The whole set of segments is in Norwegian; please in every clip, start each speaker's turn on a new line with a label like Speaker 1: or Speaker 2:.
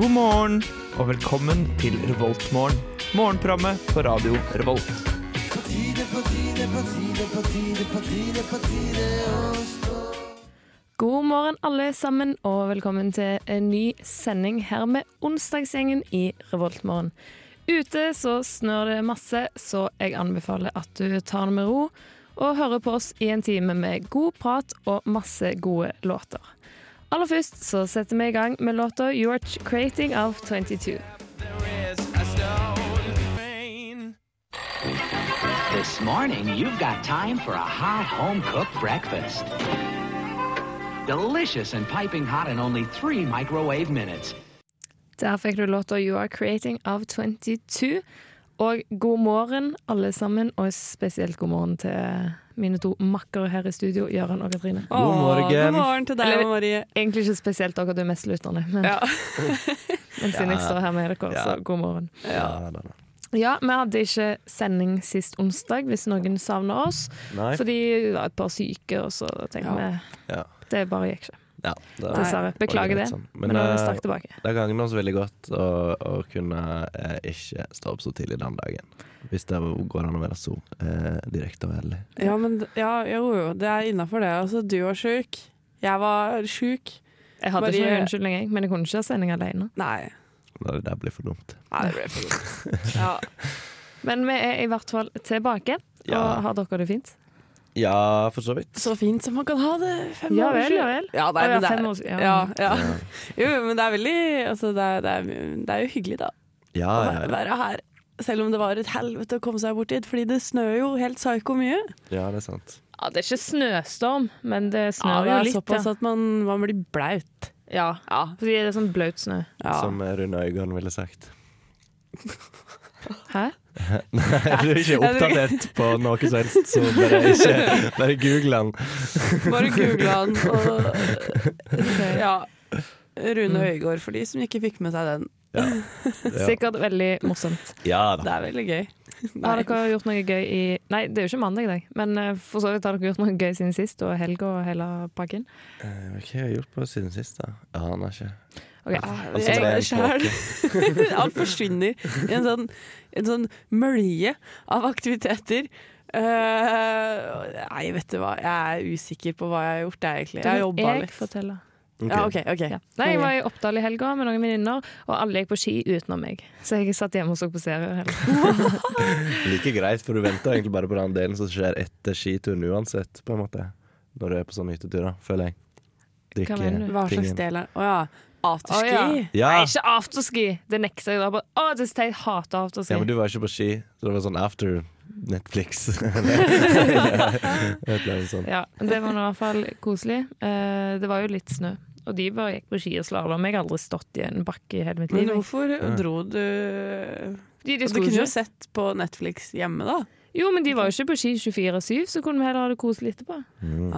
Speaker 1: God morgen og velkommen til Revoltmorgen. Morgenprogrammet på radio Revolt.
Speaker 2: God morgen, alle sammen, og velkommen til en ny sending her med Onsdagsgjengen i Revoltmorgen. Ute så snør det masse, så jeg anbefaler at du tar det med ro og hører på oss i en time med god prat og masse gode låter. Aller først så setter vi i gang med låta You Are Creating av 22.
Speaker 3: This morning, you've got time for a hot home cooked breakfast. Delicious and piping hot in only three microwave minutes.
Speaker 2: Der fikk du låta You Are Creating av 22. Og god morgen, alle sammen, og spesielt god morgen til mine to makkere her i studio, Gøran og Katrine.
Speaker 1: God morgen.
Speaker 4: Åh, God morgen til deg,
Speaker 2: Eller-
Speaker 4: Marie.
Speaker 2: Egentlig ikke spesielt dere, du er mest lytterne, men,
Speaker 4: Ja.
Speaker 2: men siden jeg står her med dere, så god morgen. Ja, vi hadde ikke sending sist onsdag, hvis noen savner oss.
Speaker 5: Nei.
Speaker 2: Fordi det var et par syke, og så tenkte vi
Speaker 5: Ja.
Speaker 2: det bare gikk ikke.
Speaker 5: Ja, det var-
Speaker 2: Dessverre. Beklager
Speaker 5: var
Speaker 2: det,
Speaker 5: greit sånn. Men,
Speaker 2: men nå er vi
Speaker 5: eh,
Speaker 2: straks tilbake.
Speaker 5: det gagner oss veldig godt å, å kunne eh, ikke stå opp så tidlig den dagen. Hvis det går an å være så eh, direkte og ærlig.
Speaker 4: Ja, men d- ja, jo, jo, det er innafor det. Altså, du var sjuk. Jeg var sjuk.
Speaker 2: Jeg hadde
Speaker 4: Marie-
Speaker 2: ikke noen unnskyldning, jeg, men jeg kunne ikke ha sending alene.
Speaker 4: Nei.
Speaker 5: Når det der blir for dumt.
Speaker 4: Nei, det ble for dumt. Ja.
Speaker 2: Men vi er i hvert fall tilbake.
Speaker 5: Ja.
Speaker 2: Og har dere det fint?
Speaker 5: Ja, for så vidt.
Speaker 4: Så fint som man kan ha det. Fem
Speaker 2: Ja
Speaker 4: år
Speaker 2: vel,
Speaker 4: siden.
Speaker 2: ja vel.
Speaker 4: Ja,
Speaker 2: Å,
Speaker 4: nei,
Speaker 2: ja,
Speaker 4: men det er-
Speaker 2: fem år siden, ja.
Speaker 4: Ja, ja. Jo, jo, men det er veldig Altså, det er, det er, det er jo hyggelig, da. Å
Speaker 5: Ja,
Speaker 4: væ-
Speaker 5: ja,
Speaker 4: være her. Selv om det var et helvete å komme seg bort dit, fordi det snør jo helt psyko mye.
Speaker 5: ja, det er sant.
Speaker 2: Ja, Det er ikke snøstorm, men det
Speaker 4: Ja,
Speaker 2: snør
Speaker 4: det
Speaker 2: jo
Speaker 4: er
Speaker 2: litt.
Speaker 4: såpass
Speaker 2: ja.
Speaker 4: at man, man blir blaut.
Speaker 2: Ja,
Speaker 4: Ja.
Speaker 2: fordi det er sånn blaut snø.
Speaker 4: ja.
Speaker 5: Som eh, Rune Øygarden ville sagt.
Speaker 2: Hæ?
Speaker 5: Er du ikke oppdatert på noe som helst, så bare ikke Bare google den.
Speaker 4: Bare google han og
Speaker 2: Ok.
Speaker 4: Ja.
Speaker 2: Mm.
Speaker 4: Rune Høygård, for de som ikke fikk med seg den.
Speaker 5: Ja,
Speaker 2: Sikkert veldig morsomt.
Speaker 5: ja
Speaker 4: Det
Speaker 5: da.
Speaker 4: er veldig gøy. Nei.
Speaker 2: Har dere gjort noe gøy i Nei, det er jo ikke mandag i dag, men eh, for så vidt har dere gjort noe gøy siden sist, og helga og hele pakken.
Speaker 5: Eh, Hva har jeg gjort på siden sist, da? Jeg aner ikke.
Speaker 2: Ok.
Speaker 5: Altså,
Speaker 4: Jeg-
Speaker 5: det er en
Speaker 4: sjæl.
Speaker 5: tåke.
Speaker 4: Alt forsvinner i en sånn, en sånn mølje av aktiviteter. Eh, nei, vet du hva. Jeg er usikker på hva jeg har gjort, jeg, egentlig. Jeg har jobba
Speaker 2: jeg
Speaker 4: litt.
Speaker 2: forteller.
Speaker 4: Ja, OK. ok
Speaker 2: Ja. Nei, jeg var i Oppdal i helga med noen venninner, og alle gikk på ski utenom meg. Så jeg satt hjemme og så på serier. hele-
Speaker 5: Like greit, for du venter egentlig bare på den delen som skjer etter skituren uansett, på en måte. Når du er på sånne hytteturer, føler jeg. Drikke
Speaker 2: Hva mener du?
Speaker 4: Hva slags
Speaker 5: tingen.
Speaker 4: del er Å ja.
Speaker 2: Å,
Speaker 4: Afterski.
Speaker 2: ja.
Speaker 5: Ja.
Speaker 2: Nei, ikke afterski! Det nekter jeg. da bare. Å, det er teit. Hater afterski.
Speaker 5: ja, men du var ikke på ski, så det var sånn after Netflix. Eller- Et eller annet sånt.
Speaker 2: Ja, men det var nå i hvert fall koselig. Eh, det var jo litt snø. Og de bare gikk på ski og slalåm. Jeg har aldri stått i en bakke i hele mitt liv.
Speaker 4: Men hvorfor dro du
Speaker 2: De, de
Speaker 4: Du
Speaker 2: skulle
Speaker 4: kunne jo
Speaker 2: ikke.
Speaker 4: sett på Netflix hjemme, da.
Speaker 2: Jo, men de var jo ikke på ski 24-7, så kunne vi heller ha det koselig etterpå.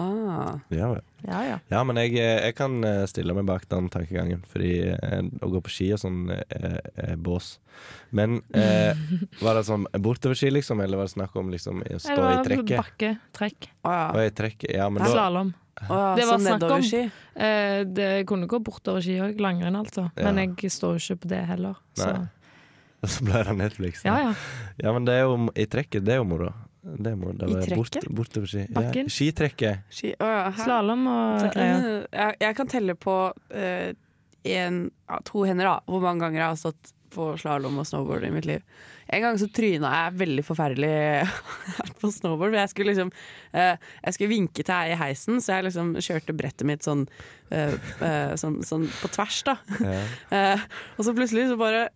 Speaker 4: Ah.
Speaker 5: Ja, vel.
Speaker 2: Ja, ja.
Speaker 5: ja, men jeg, jeg kan eh, stille meg bak den tankegangen, fordi eh, å gå på ski og sånn er, er bås. Men eh, var det sånn bortoverski, liksom, eller var det snakk om liksom å stå i
Speaker 2: Eller
Speaker 5: trekket?
Speaker 2: bakke, trekk,
Speaker 4: Å,
Speaker 5: Og
Speaker 4: ja.
Speaker 5: i trekket, ja, men da
Speaker 2: slalåm.
Speaker 4: Å, ja.
Speaker 2: Det var
Speaker 4: sånn
Speaker 2: snakk om-
Speaker 4: nedoverski.
Speaker 2: Eh, det kunne gå bortover ski òg, langrenn altså.
Speaker 5: Ja.
Speaker 2: Men jeg står jo ikke på det heller. Så
Speaker 5: Nei. så ble det Netflix.
Speaker 2: ja, ja.
Speaker 5: Ja, men det er jo i trekket, det er jo moro. Det er moro. Det
Speaker 4: I
Speaker 5: er bare
Speaker 4: trekket?
Speaker 5: Bort, bortover ski.
Speaker 2: Bakken?
Speaker 5: Ja, skitrekket.
Speaker 4: Ski. Å, ja. hæ?
Speaker 2: Slalåm og greier.
Speaker 4: Eh, Jeg, jeg kan telle på eh, en, ja, to hender da, hvor mange ganger jeg har stått på slalåm og snowboard i mitt liv. En gang så tryna jeg veldig forferdelig på snowboard. for Jeg skulle liksom eh, Jeg skulle vinke til ei i heisen, så jeg liksom kjørte brettet mitt sånn, eh, eh, sånn, sånn på tvers, da.
Speaker 5: Ja.
Speaker 4: Eh, og så plutselig så bare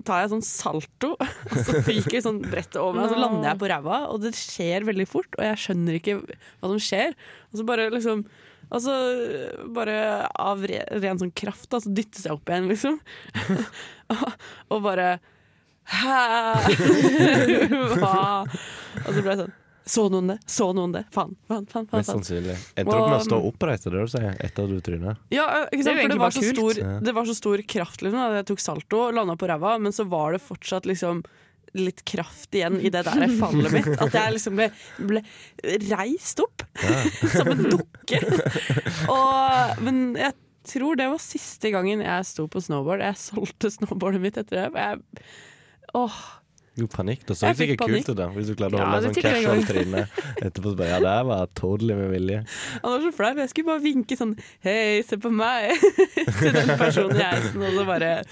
Speaker 4: tar jeg sånn salto, og så fyker sånn brettet over meg, og så lander jeg på ræva, og det skjer veldig fort, og jeg skjønner ikke hva som skjer. Og så bare liksom og så øh, bare av re, ren sånn kraft, da, så dyttes jeg opp igjen, liksom. og, og bare Hæ? Hva? Og så ble jeg sånn Så noen det? Så noen det? Faen, faen, faen. faen,
Speaker 2: sånn.
Speaker 5: Mest
Speaker 4: faen.
Speaker 5: sannsynlig. Endte dere med å
Speaker 4: Og-
Speaker 5: stå
Speaker 2: mm.
Speaker 5: oppreist er det du sier, etter at du tryna?
Speaker 4: Ja, eh,
Speaker 2: Det er
Speaker 4: ikke sant?
Speaker 2: jo
Speaker 4: for
Speaker 2: egentlig
Speaker 4: det
Speaker 2: bare
Speaker 4: var, så
Speaker 2: kult.
Speaker 4: stor,
Speaker 5: Ja.
Speaker 4: det var så stor kraft. Liksom, da. jeg tok salto, landa på ræva, men så var det fortsatt liksom litt kraft igjen i det der fallet mitt. At jeg liksom ble, ble reist opp som en dukke. Og, men jeg tror det var siste gangen jeg sto på snowboard. Jeg solgte snowboardet mitt etter det. for Jeg, åh,
Speaker 5: Jo, panikk. Det så
Speaker 4: Jeg
Speaker 5: ut sikkert
Speaker 4: fikk panikk.
Speaker 5: kult ut, da. Hvis du klarte å
Speaker 2: Ja,
Speaker 5: holde
Speaker 2: det
Speaker 5: sånn
Speaker 2: fikk jeg
Speaker 5: casual
Speaker 2: også.
Speaker 5: tryne etterpå. Så bare, ja, det her var totally med vilje.
Speaker 4: han var så flau. Jeg skulle bare vinke sånn Hei, se på meg! til den personen i heisen, og så bare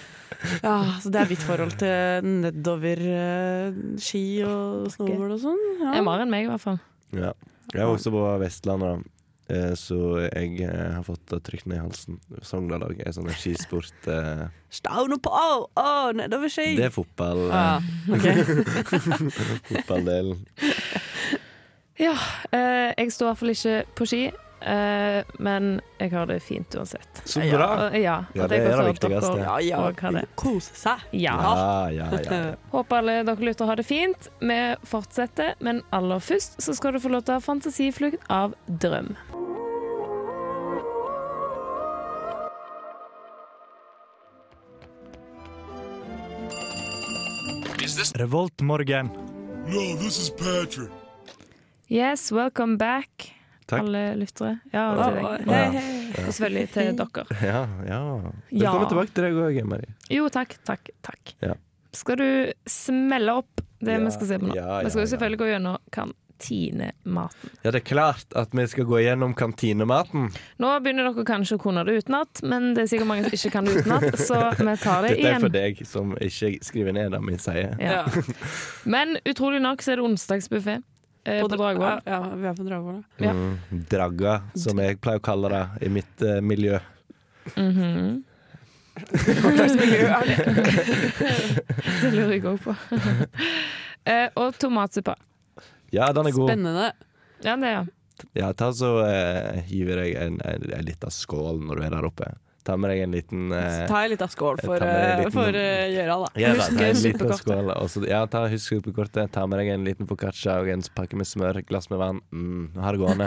Speaker 4: Ja, så det er mitt forhold til nedover eh, ski og snowboard og sånn.
Speaker 2: Det er
Speaker 4: Ja.
Speaker 2: mer enn meg, i hvert fall.
Speaker 5: Ja. Jeg er også på Vestlandet, da. Eh, Så jeg eh, har fått det trygt ned i halsen. Sogndal òg er sånn en skisport eh,
Speaker 4: Staune på! Å, å, nedover ski!
Speaker 5: Det er fotball, eh,
Speaker 4: Ja, ok.
Speaker 5: fotballdelen.
Speaker 2: Ja, eh, jeg står i hvert fall ikke på ski, eh, men jeg har det fint uansett.
Speaker 5: Så
Speaker 4: Ja.
Speaker 5: bra!
Speaker 2: Og, ja,
Speaker 5: Ah. Ja,
Speaker 2: og
Speaker 5: det
Speaker 2: jeg
Speaker 5: er det
Speaker 2: håper dere-
Speaker 5: viktigste.
Speaker 4: Ja, ja.
Speaker 2: Og hva det-
Speaker 4: Kose seg.
Speaker 2: Ja.
Speaker 5: Ja, ja, ja.
Speaker 2: Håper alle dere lytter har det fint. Vi fortsetter, men aller først så skal du få lov til å ha fantasiflukt av drøm.
Speaker 1: Revoltmorgen.
Speaker 2: Yes, welcome back,
Speaker 5: Takk.
Speaker 2: alle lyttere. Ja, og til deg.
Speaker 4: Hei,
Speaker 5: Ja.
Speaker 4: hei.
Speaker 2: Og selvfølgelig til dere.
Speaker 5: ja, ja.
Speaker 2: Ja.
Speaker 5: Velkommen tilbake til deg òg, Marie.
Speaker 2: Jo, takk, takk, takk.
Speaker 5: Ja.
Speaker 2: Skal du smelle opp det
Speaker 5: Ja,
Speaker 2: vi skal se på nå?
Speaker 5: ja,
Speaker 2: vi skal jo
Speaker 5: ja,
Speaker 2: selvfølgelig gå gjennom kantinematen.
Speaker 5: Ja, det er klart at vi skal gå gjennom kantinematen.
Speaker 2: Nå begynner dere kanskje å kunne det utenat, men det er sikkert mange som ikke kan det utenat, så vi tar det
Speaker 5: Dette er
Speaker 2: igjen.
Speaker 5: for deg som ikke skriver ned det vi sier.
Speaker 2: Ja. Men utrolig nok så er det onsdagsbuffé eh, på Dragvoll.
Speaker 4: Ja, ja, vi er på Dragvoll. ja.
Speaker 2: Ja.
Speaker 5: Mm, dragga, som jeg pleier å kalle det i mitt eh, miljø.
Speaker 2: Mhm. Det lurer jeg òg på. eh, og tomatsuppe.
Speaker 5: Ja, den er god.
Speaker 4: Spennende.
Speaker 2: Ja, det, ja.
Speaker 5: Ja, ta så eh, hiver jeg en, en, en liten skål når du er der oppe. Ta med deg en liten
Speaker 4: Så
Speaker 5: eh,
Speaker 4: tar jeg litt av skål for,
Speaker 5: jeg tar med en
Speaker 4: eh,
Speaker 5: liten-
Speaker 4: for eh, Gøran, da.
Speaker 5: ja, da,
Speaker 2: husk
Speaker 5: ta en liten
Speaker 2: suppekortet.
Speaker 5: skål, og så- ja, ta, husk suppekortet. Ta med deg en liten foccaccia og en pakke med smør, glass med vann. Mm, ha det gående.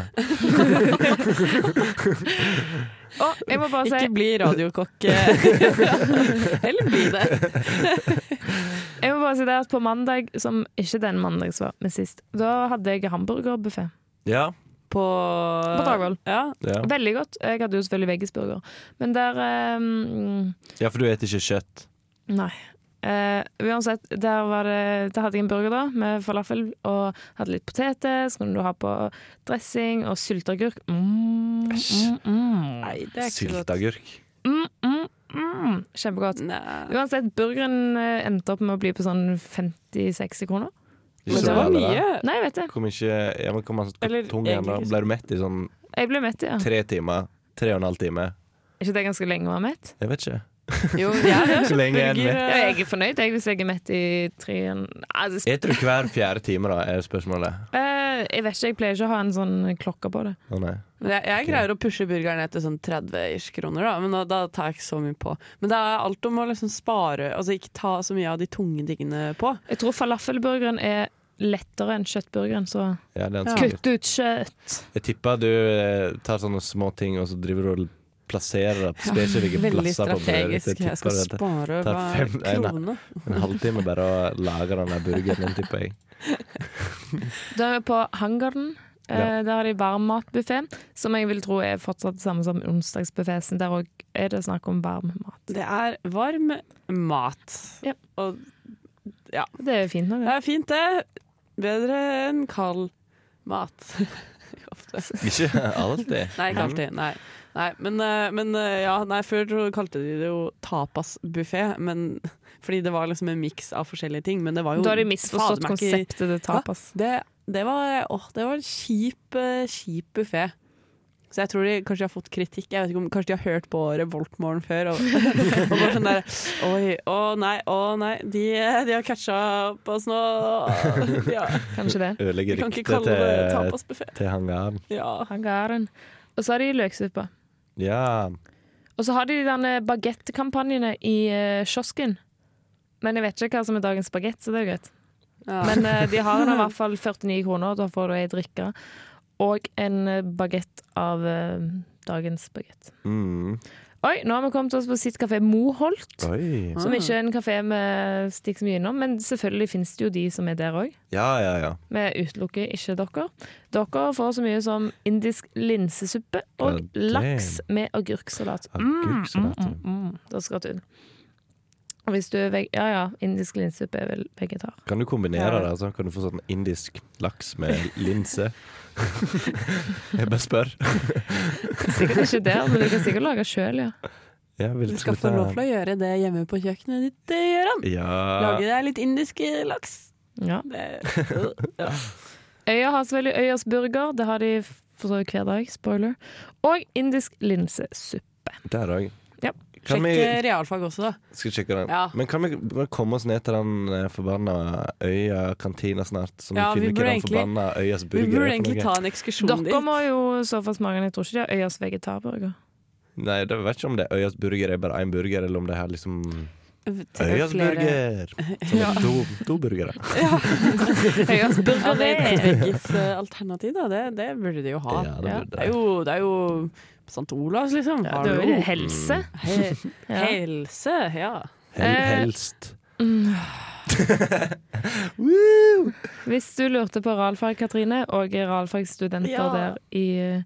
Speaker 2: Og jeg må bare si
Speaker 4: Ikke bli radiokokk. eh. Altså, Eller bli det.
Speaker 2: Jeg må bare si det at på mandag, som ikke den mandag som var med sist, da hadde jeg hamburgerbuffé
Speaker 5: Ja.
Speaker 4: På,
Speaker 2: på Dragvoll.
Speaker 4: Ja.
Speaker 5: Ja.
Speaker 2: Veldig godt. Jeg hadde jo selvfølgelig veggisburger, men der eh, mm,
Speaker 5: ja, for du spiser ikke kjøtt.
Speaker 2: Nei. Eh, uansett, der, var det, der hadde jeg en burger da med falafel og hadde litt poteter. Så kunne du ha på dressing og sylteagurk. Mm, mm, mm.
Speaker 4: Nei, det er ikke godt.
Speaker 5: Sylteagurk.
Speaker 2: Mm, mm, mm. Kjempegodt.
Speaker 4: Nei.
Speaker 2: Uansett, burgeren eh, endte opp med å bli på sånn 50-60 kroner.
Speaker 5: Ikke
Speaker 4: Men
Speaker 5: så
Speaker 4: det var
Speaker 5: jævlig,
Speaker 4: mye.
Speaker 2: Nei, jeg vet det.
Speaker 5: Kom ikke ja, men kom an,
Speaker 4: Eller
Speaker 5: tung igjen, da.
Speaker 4: egentlig ikke.
Speaker 5: Ble du mett i sånn
Speaker 2: Jeg ble mett, ja. Er
Speaker 5: tre timer? Tre og en halv time?
Speaker 2: ikke det ganske lenge å være mett?
Speaker 5: Jeg vet ikke.
Speaker 4: Jo, ja, ja.
Speaker 5: Så lenge jeg er mett.
Speaker 4: eh,
Speaker 2: Ja, jeg er fornøyd jeg, hvis jeg er mett i tre altså, sp-
Speaker 5: Spiser du hver fjerde time, da, er spørsmålet.
Speaker 2: eh, Jeg vet ikke, jeg pleier ikke å ha en sånn klokke på det.
Speaker 5: Å nei.
Speaker 4: Men Jeg, jeg greier å pushe burgeren ned til sånn 30-ish kroner, da, men da, da tar jeg ikke så mye på. Men det er alt om å liksom spare, altså ikke ta så mye av de tunge tingene på.
Speaker 2: Jeg tror falafelburgeren er lettere enn kjøttburgeren, så
Speaker 5: Ja, det er en sånn
Speaker 4: Ja.
Speaker 5: sikkert.
Speaker 2: kutt ut kjøtt.
Speaker 5: Jeg tipper du eh, tar sånne små ting og så driver du og plasserer det på spesifikke
Speaker 4: Veldig
Speaker 5: plasser. på brødet.
Speaker 4: strategisk. Jeg skal
Speaker 5: tipper det
Speaker 4: spare
Speaker 5: tar
Speaker 4: hver
Speaker 5: fem- nei, nei.
Speaker 4: krone.
Speaker 5: tar en halvtime bare å lage den der burgeren din, tipper jeg.
Speaker 2: Da er vi på Hangarden. Eh,
Speaker 5: Ja.
Speaker 2: Der har de varmmatbuffé, som jeg vil tro er fortsatt det samme som onsdagsbuffesen. Der òg er det snakk om varm mat.
Speaker 4: Det er varm mat.
Speaker 2: Ja.
Speaker 4: Og
Speaker 2: Det er fint nok,
Speaker 4: det er fint, det. Bedre enn kald mat. Ofte.
Speaker 5: Ikke alltid.
Speaker 4: Nei, ikke alltid. Nei. Nei, men, eh, men eh, ja, nei, før så kalte de det jo tapasbuffé, men- fordi det var liksom en miks av forskjellige ting. Men det var jo
Speaker 2: det. Da har de misforstått
Speaker 4: fader meg ikke-
Speaker 2: konseptet til tapas.
Speaker 4: Det, det var, åh, det var en kjip, eh, kjip buffé. Så jeg tror de kanskje har fått kritikk. Jeg vet ikke om, Kanskje de har hørt på Revoltmorgen før. Og, og bare sånn der Oi, å nei, å nei. De, eh, de har catcha opp oss nå. De har,
Speaker 2: Kanskje det.
Speaker 5: Ødelegger
Speaker 4: vi kan ikke
Speaker 5: ryktet
Speaker 4: kalle det
Speaker 5: til,
Speaker 4: tapasbuffé.
Speaker 5: til hangaren.
Speaker 4: Ja.
Speaker 2: Hangaren. Og så har de løksuppe.
Speaker 5: Ja.
Speaker 2: Og så har de de bagettekampanjene i eh, kiosken. Men jeg vet ikke hva som er dagens bagett, så det er jo greit.
Speaker 4: ja.
Speaker 2: Men eh, de har den i hvert fall 49 kroner, og da får du ei drikke. Og en bagett av eh, dagens bagett.
Speaker 5: Mm.
Speaker 2: Oi, nå har vi kommet oss på sitt kafé Moholt.
Speaker 5: Oi.
Speaker 2: Som ikke er en kafé vi stikker så mye innom, men selvfølgelig finnes det jo de som er der òg.
Speaker 5: Ja, ja, ja.
Speaker 2: Vi utelukker ikke dere. Dere får så mye som indisk linsesuppe og
Speaker 5: God damn.
Speaker 2: laks med agurksalat.
Speaker 5: Agurksalat, ja.
Speaker 2: mm. Da skal du Og Hvis du er veg... Ja ja, indisk linsesuppe er vel vegetar.
Speaker 5: Kan du kombinere det? Altså? Kan du få sånn indisk laks med linse? jeg bare spør.
Speaker 2: Sikkert ikke der, men du kan sikkert lage sjøl, ja.
Speaker 5: Jeg vil
Speaker 4: Du skal få lov til å gjøre det hjemme på kjøkkenet ditt, det gjør han.
Speaker 5: Ja.
Speaker 4: Lage deg litt indisk laks.
Speaker 2: ja.
Speaker 4: Det, Øh, ja.
Speaker 2: Øya har selvfølgelig Øyas burger. Det har de for så vidt hver dag. Spoiler. Og indisk linsesuppe.
Speaker 5: Der òg.
Speaker 2: Ja.
Speaker 4: Sjekk
Speaker 5: Kan vi
Speaker 4: eh, realfag også, da.
Speaker 5: Skal sjekke den.
Speaker 4: Ja.
Speaker 5: Men kan vi bare komme oss ned til den eh, forbanna øya kantina snart? Så vi
Speaker 4: Ja, vi burde
Speaker 5: finner ikke den
Speaker 4: egentlig-
Speaker 5: forbanna øyas
Speaker 4: Vi
Speaker 5: burger.
Speaker 4: burde
Speaker 5: er for
Speaker 4: egentlig
Speaker 5: noe.
Speaker 4: ta en ekskursjon dit.
Speaker 2: Dere må jo så få smake den. Jeg tror ikke de har Øyas vegetarburger.
Speaker 5: Nei, det vet ikke om det er øyas burger er bare én burger, eller om det er liksom
Speaker 4: Til
Speaker 5: Øyas
Speaker 4: flere-
Speaker 5: burger! Som er to, to burgere.
Speaker 2: Øyas
Speaker 4: Ja,
Speaker 2: burger
Speaker 4: det er et
Speaker 2: er
Speaker 4: veggis eh, alternativ, da. Det, det burde de jo ha.
Speaker 5: Ja, det burde
Speaker 4: det, er jo, det er jo St. Olavs, liksom.
Speaker 2: ja, det er jo helse.
Speaker 4: He
Speaker 2: Ja.
Speaker 4: Helse, ja.
Speaker 5: Hel,
Speaker 2: Eh.
Speaker 5: helst.
Speaker 2: Hvis du lurte på realfag, Katrine, og realfagsstudenter
Speaker 4: Ja.
Speaker 2: der i,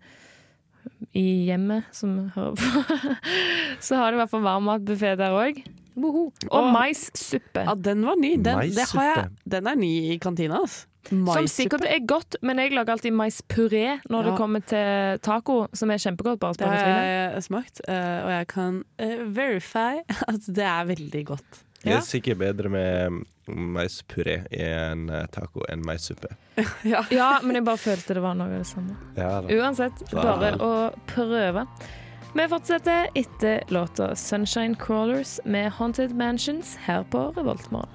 Speaker 2: i hjemmet som hører på, så har de i hvert fall varmmatbuffé der òg. Og
Speaker 4: Åh.
Speaker 2: maissuppe.
Speaker 4: ja. Den var ny. Den, det har jeg,
Speaker 5: Maissuppe.
Speaker 4: den er ny i kantina, altså.
Speaker 2: Som sikkert er godt, men jeg lager alltid maispuré når
Speaker 4: Ja.
Speaker 2: det kommer til taco, som er kjempegodt. bare
Speaker 4: Det
Speaker 2: spør
Speaker 4: har
Speaker 2: Katrine.
Speaker 4: jeg smakt, eh, og jeg kan eh, verify at det er veldig godt.
Speaker 5: Det er sikkert bedre med maispuré i en eh, taco enn maissuppe.
Speaker 2: Ja, men jeg bare følte det var noe av det samme.
Speaker 5: Ja, da.
Speaker 2: Uansett, bare å prøve. Vi fortsetter etter låta 'Sunshine Crawlers' med 'Haunted Mansions' her på Revoltmorgen.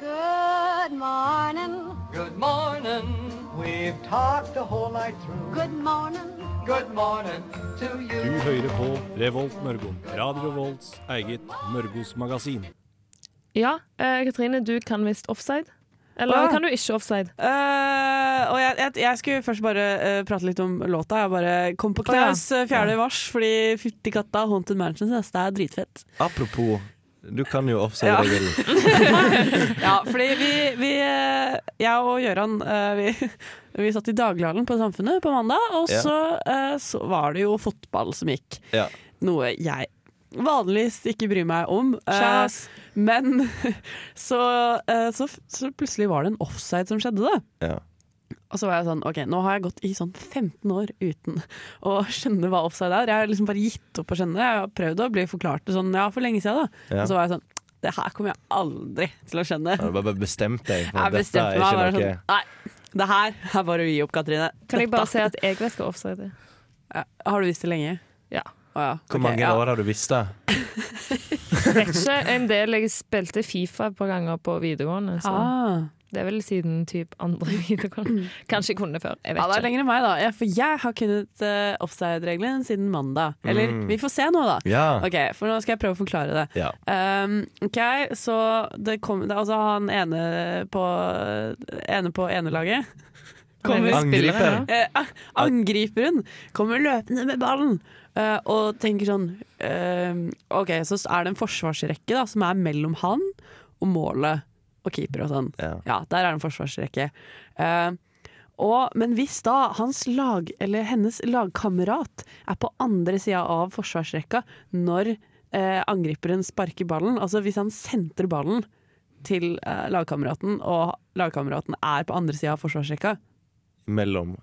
Speaker 6: Good morning.
Speaker 7: Good morning. We've talked the whole night through.
Speaker 6: Good morning.
Speaker 7: Good morning to you.
Speaker 8: Du hører på Revolt Mørgon. Radio Revolts eget Mørgos magasin.
Speaker 2: Ja, eh, Katrine, du kan visst offside. Eller
Speaker 4: Åh.
Speaker 2: kan du ikke offside?
Speaker 4: Eh, og jeg, jeg, jeg skulle først bare eh, prate litt om låta. Jeg bare kom på knaus eh, 4. mars, fordi fytti katta, Haunted Mansions, ass, det er dritfett.
Speaker 5: Apropos, du kan jo offside
Speaker 4: Ja.
Speaker 5: regelen.
Speaker 4: Ja, fordi vi, vi eh, Jeg og Gøran eh, vi, vi satt i Daglighallen på Samfunnet på mandag, og
Speaker 5: Ja.
Speaker 4: så, eh, så var det jo fotball som gikk.
Speaker 5: Ja.
Speaker 4: Noe jeg vanligvis ikke bryr meg om. eh,
Speaker 2: Kjas.
Speaker 4: men så, eh, så, så plutselig var det en offside som skjedde, da.
Speaker 5: Ja.
Speaker 4: Og så var jeg sånn, ok, nå har jeg gått i sånn 15 år uten å skjønne hva offside er. Jeg har liksom bare gitt opp å skjønne det. Jeg har prøvd å bli forklart det sånn, ja, for lenge siden da.
Speaker 5: Ja.
Speaker 4: Og så var jeg sånn, det her kommer jeg aldri til å skjønne.
Speaker 5: Har du bare bestemt deg for at
Speaker 4: Jeg
Speaker 5: dette
Speaker 4: bestemte
Speaker 5: er
Speaker 4: meg,
Speaker 5: ikke
Speaker 4: bare
Speaker 5: noe
Speaker 4: sånn, nei, det her er bare å gi opp, Katrine.
Speaker 2: Kan jeg
Speaker 4: Dette-
Speaker 2: bare si at jeg vet hva offside er?
Speaker 4: Ja, Har du visst det lenge?
Speaker 2: Ja.
Speaker 4: Å ja.
Speaker 5: Hvor
Speaker 4: ok,
Speaker 5: mange
Speaker 4: ja.
Speaker 5: år har du visst det?
Speaker 2: Vet ikke en del jeg spilte Fifa et par ganger på videregående. Så
Speaker 4: Ah.
Speaker 2: Det er vel siden typ andre videregående. Kanskje jeg kunne før. Jeg
Speaker 4: Ja, det er
Speaker 2: vet ikke.
Speaker 4: lenger enn meg da. Ja, For jeg har kunnet eh, offside-regelen siden mandag. Eller,
Speaker 2: Mm.
Speaker 4: vi får se nå da.
Speaker 5: Ja.
Speaker 4: Ok, for nå skal jeg prøve å forklare det.
Speaker 5: ja.
Speaker 4: Um, ok, så det kom, det, er altså han ene på, ene på enelaget kommer,
Speaker 2: Mener spillere,
Speaker 5: Angriper.
Speaker 2: ja.
Speaker 4: eh, ah, Angriperen kommer løpende med ballen eh, og tenker sånn ehm, Ok, så er det en forsvarsrekke da, som er mellom han og målet og keeper og sånn.
Speaker 5: Ja.
Speaker 4: Ja, der er det en forsvarsrekke. Eh, og, men hvis da hans lag, eller hennes lagkamerat er på andre sida av forsvarsrekka når eh, angriperen sparker ballen, altså hvis han sentrer ballen til eh, lagkameraten, og lagkameraten er på andre sida av forsvarsrekka
Speaker 5: Mellom.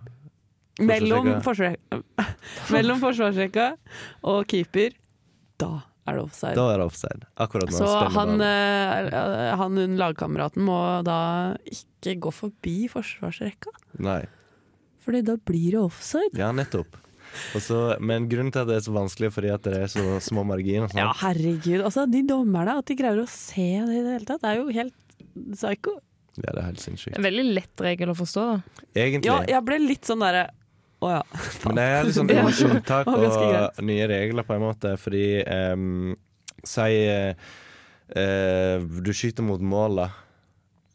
Speaker 4: mellom, forsvar- mellom forsvarsrekka og keeper, da er det offside.
Speaker 5: Da er det offside. Akkurat når
Speaker 4: Så
Speaker 5: spiller
Speaker 4: han,
Speaker 5: ballen.
Speaker 4: eh, han hun lagkameraten må da ikke gå forbi forsvarsrekka,
Speaker 5: Nei.
Speaker 4: Fordi da blir det offside.
Speaker 5: Ja, nettopp. Og så- men grunnen til at det er så vanskelig, er fordi at det er så små marginer. sant?
Speaker 4: Ja, herregud. Altså, de dommerne, at de greier å se det i det hele tatt, det er jo helt psycho.
Speaker 5: ja, det er helt sinnssykt.
Speaker 2: En veldig lett regel å forstå, da.
Speaker 5: Egentlig.
Speaker 4: Ja, jeg ble litt sånn derre Å ja.
Speaker 5: Men det er litt sånn
Speaker 4: Det var-
Speaker 5: unntak
Speaker 4: var ganske
Speaker 5: og nye regler, på en måte, fordi ehm, Si eh, eh, du skyter mot mål, da.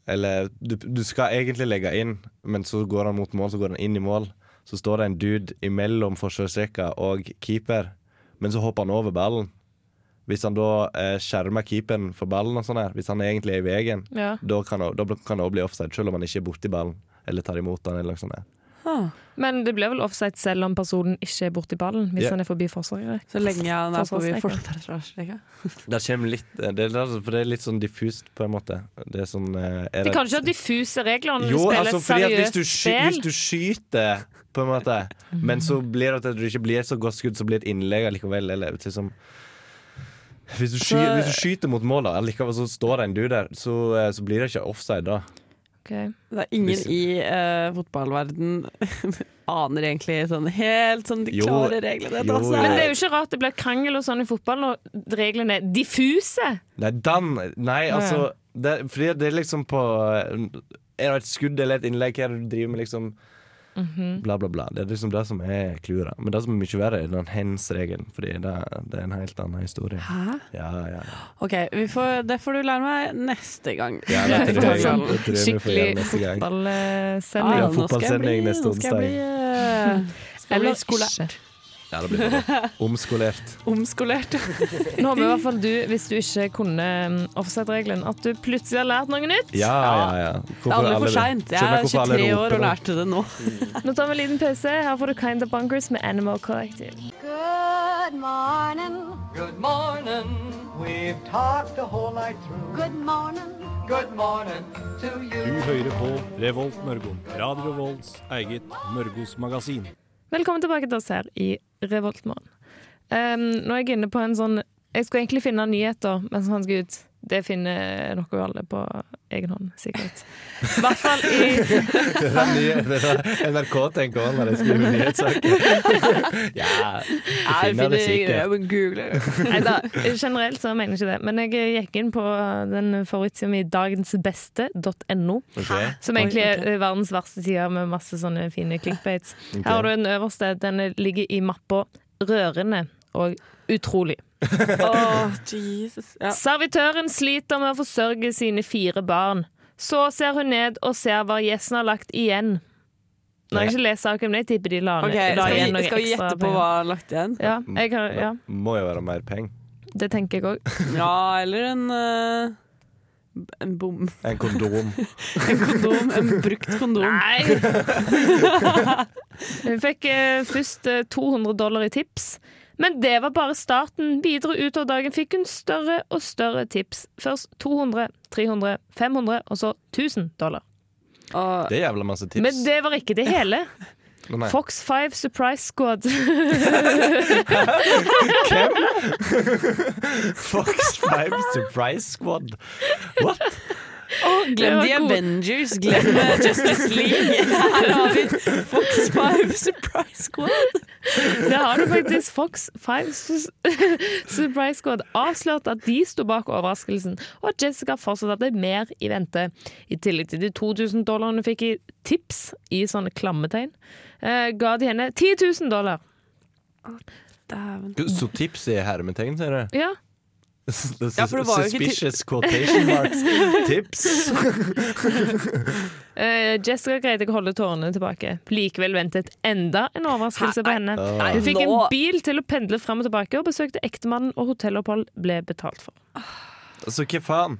Speaker 5: Eller du, du skal egentlig legge inn, men så går han mot mål, så går han inn i mål. så står det en dude imellom forsvarsrekka og keeper, men så hopper han over ballen. Hvis han da eh, skjermer keeperen for ballen, og sånn her, hvis han egentlig er i veien,
Speaker 2: Ja.
Speaker 5: da kan det- da kan det også bli offside, selv om han ikke er borti ballen eller tar imot den. eller noe sånt der.
Speaker 4: Ah,
Speaker 2: Men det blir vel offside selv om personen ikke er borti ballen, hvis
Speaker 5: Ja.
Speaker 2: han er forbi forsvaret.
Speaker 4: så lenge han er på
Speaker 2: Forsvarsrekka.
Speaker 4: forsvarsrekka.
Speaker 5: Det kommer litt det er, altså, For det er litt sånn diffust, på en måte. Det er sånn eh, er
Speaker 2: De
Speaker 5: det-
Speaker 2: kan ikke ha diffuse regler når du
Speaker 5: Jo,
Speaker 2: spiller
Speaker 5: altså,
Speaker 2: et
Speaker 5: fordi at hvis
Speaker 2: seriøst
Speaker 5: du, sky, hvis
Speaker 2: spill.
Speaker 5: du skyter, på en måte, men så blir det at det ikke blir et så godt skudd, så blir det et innlegg allikevel. Eller, vet du, som, hvis, du sky,
Speaker 2: Så-
Speaker 5: hvis du skyter mot målet, allikevel så står det en dude der, så, eh, så blir det ikke offside da.
Speaker 2: Ok.
Speaker 4: Det er ingen
Speaker 5: Hvis-
Speaker 4: i eh, fotballverden aner egentlig sånn helt sånn de
Speaker 5: Jo,
Speaker 4: klare reglene.
Speaker 5: jo,
Speaker 4: altså.
Speaker 5: jo.
Speaker 2: Men det er jo ikke rart det blir krangel og sånn i fotball når reglene er diffuse.
Speaker 5: Nei, Dan Nei, altså det, Fordi det er liksom på Er det et skudd eller et innlegg? Hva er det du driver med? liksom
Speaker 4: Mhm.
Speaker 5: Bla, bla, bla. Det er liksom det som er klura. Men det som er mye verre, er den hens-regelen. Fordi det, det er en helt annen historie.
Speaker 4: Hæ?
Speaker 5: Ja, ja.
Speaker 4: Ok, vi får, det får du lære meg neste gang.
Speaker 5: ja det
Speaker 2: Vi
Speaker 5: tror
Speaker 2: tar
Speaker 5: jeg,
Speaker 2: sånn
Speaker 5: det tror jeg vi får gjøre
Speaker 2: skikkelig
Speaker 5: neste gang.
Speaker 2: fotballsending.
Speaker 4: nå skal
Speaker 5: Ah, Ja,
Speaker 4: jeg
Speaker 5: fotballsending
Speaker 4: bli-
Speaker 5: neste
Speaker 4: nå skal jeg bli, eh, skal bli
Speaker 2: Eller
Speaker 4: skole-
Speaker 2: ikke.
Speaker 5: Ja, det blir bra. Omskolert.
Speaker 4: omskolert.
Speaker 2: Nå håper i hvert fall du, hvis du ikke kunne mm, offside-regelen, at du plutselig har lært noe nytt.
Speaker 5: Ja, ja, ja.
Speaker 4: Det er aldri for seint. Jeg er 23 år og
Speaker 5: lært.
Speaker 4: lærte det nå.
Speaker 2: Nå tar vi en liten pause. Her får du Kind of Bunkers med Animal Collective.
Speaker 6: Good morning.
Speaker 7: Good morning. We've talked the whole night through.
Speaker 6: Good morning.
Speaker 7: Good morning to
Speaker 8: Du
Speaker 7: you.
Speaker 8: hører på Revolt Mørgon. Radio Revolts eget Mørgosmagasin.
Speaker 2: Velkommen tilbake til oss her i Revoltmorgen. Um, nå er jeg inne på en sånn Jeg skulle egentlig finne nyheter, men sånn skal ut. Det finner dere jo alle på egen hånd, sikkert. I hvert fall i
Speaker 5: Det er nye- det er det NRK tenker over når de skriver nyhetssaker. Ja,
Speaker 4: Jeg
Speaker 5: finner det sikkert.
Speaker 4: jeg må google.
Speaker 2: Nei da, generelt så mener jeg ikke det. Men jeg eh, gikk inn på den favorittsida mi dagensbeste.no,
Speaker 5: ok.
Speaker 2: som egentlig er eh, verdens verste side med masse sånne fine clickbaits. Her har du den øverste. Den ligger i mappa rørende og utrolig.
Speaker 4: Åh, Jesus. Ja.
Speaker 2: Servitøren sliter med å forsørge sine fire barn. Så ser hun ned og ser hva gjesten har lagt igjen. Nå har jeg ikke lest saken, men jeg tipper de la, ned-
Speaker 4: Ok,
Speaker 2: la
Speaker 4: skal
Speaker 2: igjen
Speaker 4: vi,
Speaker 2: noe
Speaker 4: skal vi
Speaker 2: ekstra.
Speaker 4: gjette på
Speaker 2: penger.
Speaker 4: hva han har lagt igjen?
Speaker 2: Ja, jeg har, ja,
Speaker 5: Må jo være mer penger.
Speaker 2: det tenker jeg òg.
Speaker 4: Ja, eller en eh, en bom.
Speaker 5: En kondom.
Speaker 4: En kondom. En brukt kondom.
Speaker 2: Nei! Hun fikk eh, først eh, 200 dollar i tips, men det var bare starten. Videre utover dagen fikk hun større og større tips. Først 200, 300, 500 og så 1000 dollar.
Speaker 4: Og
Speaker 5: Det er jævla masse tips.
Speaker 2: Men det var ikke det hele.
Speaker 5: Å, nei.
Speaker 2: Fox 5 Surprise Squad.
Speaker 5: Fox 5 Surprise Squad. What?
Speaker 4: glem
Speaker 2: Det
Speaker 4: The
Speaker 2: var god-
Speaker 4: Avengers, glem eh, Justice League. Her har vi Fox 5 Surprise Squad.
Speaker 2: Det har du faktisk. Fox 5 Su- Surprise Squad avslørte at de sto bak overraskelsen, og at Jessica fortsatt hadde mer i vente. I tillegg til de 2000 dollarene hun fikk i tips, i sånne klammetegn, eh, ga de henne 10 000 dollar.
Speaker 4: Dæven.
Speaker 5: Så tips i hermetegn, sier du?
Speaker 2: Ja.
Speaker 5: Sus-
Speaker 4: Ja, for det var jo ikke ti-
Speaker 5: Suspicious quotation marks. Tips.
Speaker 2: Eh, Jessica greide ikke å holde tårene tilbake. Likevel ventet enda en overraskelse på henne.
Speaker 5: Nei,
Speaker 2: Hun fikk en
Speaker 4: nå-
Speaker 2: bil til å pendle fram og tilbake, og besøkte ektemannen, og hotellopphold ble betalt for.
Speaker 5: Altså, hva faen?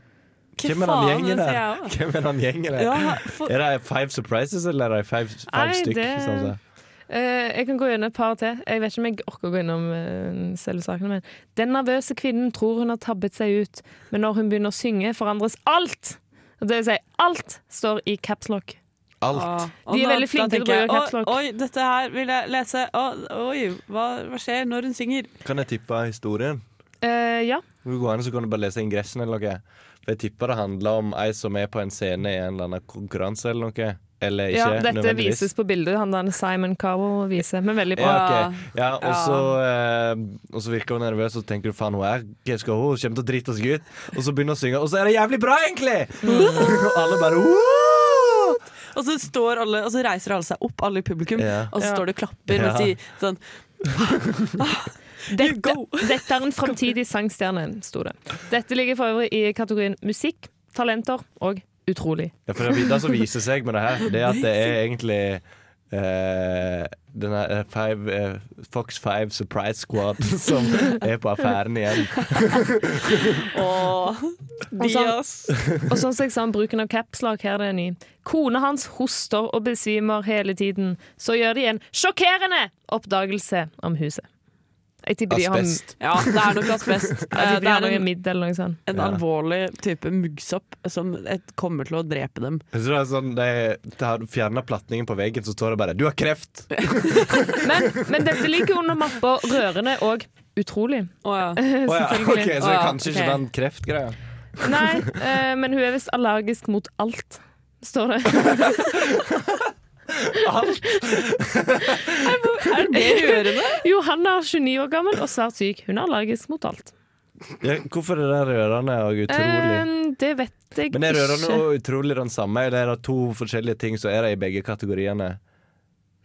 Speaker 5: Hvem er den
Speaker 4: faen, det
Speaker 5: gjengen
Speaker 4: sier
Speaker 5: der?
Speaker 4: jeg også.
Speaker 5: Hvem er den gjengen der?
Speaker 4: Ja, for,
Speaker 5: Er det five surprises, eller er det five, five
Speaker 2: Nei,
Speaker 5: stykk?
Speaker 2: det-
Speaker 5: sånn som-
Speaker 2: Eh, jeg kan gå gjennom et par til. Jeg vet ikke om jeg orker å gå innom eh, selve saken. Men. Den nervøse kvinnen tror hun har tabbet seg ut, men når hun begynner å synge, forandres alt! Og Det vil si, alt står i caps lock.
Speaker 5: Alt.
Speaker 4: Ah.
Speaker 2: De er veldig flinke til å bruke caps lock.
Speaker 4: Oi, dette her vil jeg lese. Å, Oi, hva, hva skjer når hun synger?
Speaker 5: Kan jeg tippe historien?
Speaker 2: Eh, ja.
Speaker 5: Hvis du går an, så kan du bare lese ingressen eller noe. For jeg tipper det handler om ei som er på en scene i en eller annen konkurranse eller noe. Eller ikke,
Speaker 2: ja. Dette
Speaker 5: nødvendigvis.
Speaker 2: vises på bildet. Han der Simon Cowell viser, men veldig bra.
Speaker 5: Ja, ok. ja, og så eh, Og så virker hun nervøs, og så tenker du faen, hun er hva skal hun? Hun kommer til å drite seg ut. Og så begynner hun å synge, og så er det jævlig bra, egentlig!
Speaker 4: Mm.
Speaker 5: og alle bare «What?»
Speaker 4: Og så, står alle, og så reiser alle seg opp, alle i publikum,
Speaker 5: Ja.
Speaker 4: og så
Speaker 2: Ja.
Speaker 4: står de og klapper
Speaker 5: Ja.
Speaker 4: mens de sånn
Speaker 2: Dette, dette er en framtidig sangstjerne, sto det. Dette ligger for øvrig i kategorien musikk, talenter og utrolig.
Speaker 5: Ja, for det, det som viser seg med det her, det er at det er egentlig eh, denne eh, five, eh, Fox 5 Surprise Squad som er på affæren igjen.
Speaker 4: Åh, de,
Speaker 2: sånn-
Speaker 4: ass.
Speaker 2: Og sånn som jeg sa om bruken av capslag, her er det ny. Kona hans hoster og besvimer hele tiden. Så gjør de en sjokkerende oppdagelse om huset. Jeg tipper de har, jeg
Speaker 5: Asbest.
Speaker 4: Ja, det er nok asbest. Eh,
Speaker 2: tipper
Speaker 4: Det
Speaker 2: de har
Speaker 4: er
Speaker 2: noe
Speaker 4: en,
Speaker 2: midd eller noe sånt.
Speaker 4: en alvorlig type muggsopp som et, kommer til å drepe dem.
Speaker 5: Jeg tror det er sånn, De, de har fjerna platningen på veggen, så står det bare 'Du har kreft'!
Speaker 4: Eh,
Speaker 2: Men, men dette ligger under mappa rørende og utrolig.
Speaker 4: Å ja.
Speaker 5: Å ja,
Speaker 2: Selvfølgelig.
Speaker 5: ok, så det
Speaker 4: Å
Speaker 5: er
Speaker 4: ja,
Speaker 5: kanskje
Speaker 4: ok.
Speaker 5: ikke den kreftgreia.
Speaker 2: Nei, eh, men hun er visst allergisk mot alt, står det.
Speaker 5: Alt!
Speaker 4: Er det rørende?
Speaker 2: Johanna er 29 år gammel og svært syk. Hun er allergisk mot alt.
Speaker 5: Ja, hvorfor er det rørende og utrolig?
Speaker 2: Eh, det vet jeg
Speaker 5: Men er rørende
Speaker 2: ikke.
Speaker 5: og utrolig den samme, eller er det to forskjellige ting, så er det i begge kategoriene?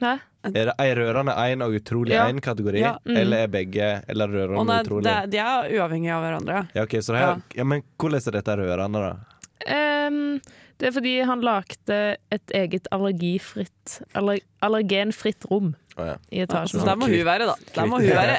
Speaker 2: Hæ?
Speaker 5: Er det ei rørende én og utrolig
Speaker 4: Ja.
Speaker 5: én kategori,
Speaker 4: Ja,
Speaker 2: mm.
Speaker 5: eller er begge eller
Speaker 4: Å
Speaker 5: rørende
Speaker 4: nei,
Speaker 5: og utrolig?
Speaker 4: det, er- de er uavhengige av hverandre.
Speaker 5: Ja, ok, så det her,
Speaker 4: Ja.
Speaker 5: ja. Men hvordan er dette rørende, da?
Speaker 2: Ehm, det er fordi han lagde et eget allergifritt aller, Allergenfritt rom
Speaker 5: Å, ja. altså,
Speaker 2: i
Speaker 4: Så
Speaker 2: etasjen.
Speaker 4: der må hun være, da. Der må hun være.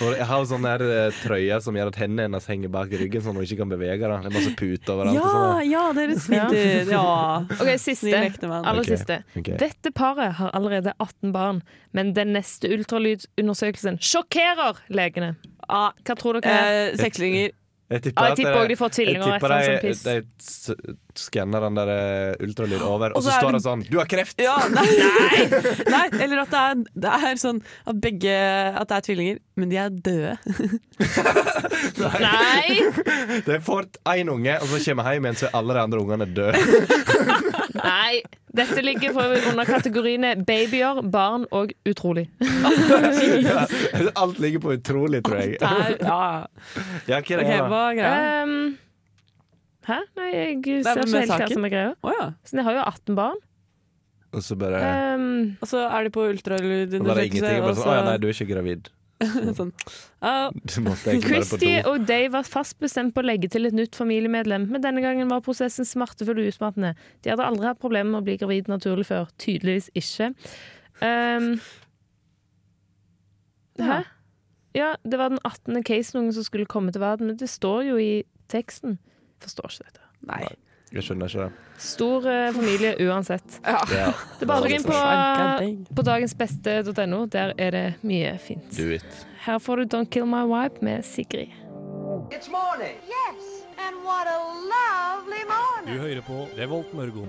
Speaker 5: For jeg har jo sånn der eh, trøye som gjør at hendene hennes henger bak ryggen, sånn at hun ikke kan bevege den. Det er masse puter overalt. og
Speaker 4: Ja,
Speaker 5: sånn,
Speaker 4: ja, dere smitter. Ja.
Speaker 2: OK, siste.
Speaker 4: Snill ektemann.
Speaker 2: Aller
Speaker 5: Ok,
Speaker 2: siste.
Speaker 5: ok.
Speaker 2: Dette paret har allerede 18 barn, men den neste ultralydundersøkelsen sjokkerer legene.
Speaker 4: Ah,
Speaker 2: Hva tror dere?
Speaker 4: eh, Sekslinger.
Speaker 5: Jeg
Speaker 2: Ja,
Speaker 5: tipper,
Speaker 2: jeg
Speaker 5: at
Speaker 2: tipper
Speaker 5: det-
Speaker 2: også de får tvillinger
Speaker 5: Jeg
Speaker 2: og et
Speaker 5: tipper
Speaker 2: eller
Speaker 4: sånn
Speaker 2: annet sånt
Speaker 5: de,
Speaker 2: piss.
Speaker 5: de s- skanner den der eh, ultralyd over, og
Speaker 4: så
Speaker 5: så
Speaker 4: er
Speaker 5: står
Speaker 4: det-
Speaker 5: det sånn Du har kreft!
Speaker 4: Ja, nei. nei! Eller at det er, det er sånn at begge At det er tvillinger, men de er døde.
Speaker 2: Nei!
Speaker 5: De får én unge, og så kommer jeg hjem igjen, så er alle de andre ungene døde.
Speaker 2: Nei. Dette ligger for øvrig under kategoriene babyer, barn og utrolig.
Speaker 5: Alt ligger på utrolig, tror jeg.
Speaker 4: Nei, ja.
Speaker 5: Ja, Eh. hva er
Speaker 4: Ok,
Speaker 5: det, da?
Speaker 4: hva er greia?
Speaker 2: Ehm, hæ? Nei, jeg ser
Speaker 4: Nei,
Speaker 2: ikke
Speaker 4: men med
Speaker 2: helt hva
Speaker 4: saken?
Speaker 2: som er greia.
Speaker 4: Å ja.
Speaker 2: Så de har jo 18 barn.
Speaker 5: Og så bare
Speaker 2: Ehm,
Speaker 4: Og så er de på
Speaker 5: Det var det ingenting.
Speaker 4: ultralydundersøkelse,
Speaker 5: Jeg
Speaker 4: og
Speaker 5: Bare sånn, Å ja, nei,
Speaker 4: så
Speaker 5: du er ikke gravid.
Speaker 4: sånn «Å,
Speaker 5: Du måtte egentlig bare på
Speaker 2: Christy
Speaker 5: do.
Speaker 2: og Dave var fast bestemt på å legge til et nytt familiemedlem, men denne gangen var prosessen smertefull og utmattende. De hadde aldri hatt problemer med å bli gravid naturlig før. Tydeligvis ikke. Ehm, hæ? Ja, det var den 18. casen noen som skulle komme til verden, men det står jo i teksten. Forstår ikke dette.
Speaker 4: Nei.
Speaker 5: Jeg skjønner ikke det.
Speaker 2: Stor eh, familie uansett.
Speaker 5: Ja.
Speaker 2: Det er bare å gå inn
Speaker 4: Svankeding.
Speaker 2: på, på dagensbeste.no. Der er det mye fint.
Speaker 5: Do it.
Speaker 2: Her får du Don't Kill My Wipe med Sigrid.
Speaker 7: It's morning.
Speaker 6: Yes, and what a lovely
Speaker 8: Du
Speaker 6: morning.
Speaker 8: hører på Revolt Mørgon.